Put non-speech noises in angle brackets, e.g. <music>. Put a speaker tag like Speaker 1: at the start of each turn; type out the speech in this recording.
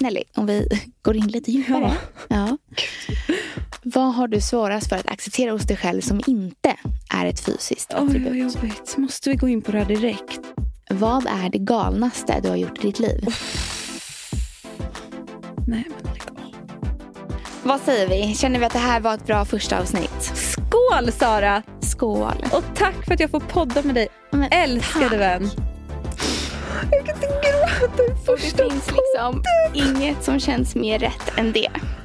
Speaker 1: Nelly, om vi <laughs> går in lite djupare. Ja. Vad har du svårast för att acceptera hos dig själv som inte är ett fysiskt
Speaker 2: Oj, vad
Speaker 1: attribut?
Speaker 2: jobbigt. Måste vi gå in på det här direkt?
Speaker 1: Vad är det galnaste du har gjort i ditt liv?
Speaker 2: Nej, men lägg av.
Speaker 1: Vad säger vi? Känner vi att det här var ett bra första avsnitt?
Speaker 2: Skål, Sara!
Speaker 1: Skål!
Speaker 2: Och tack för att jag får podda med dig,
Speaker 1: Men eh,
Speaker 2: älskade
Speaker 1: tack.
Speaker 2: vän. Jag kan inte gråta i
Speaker 1: Och det
Speaker 2: första
Speaker 1: finns liksom inget som känns mer rätt än det.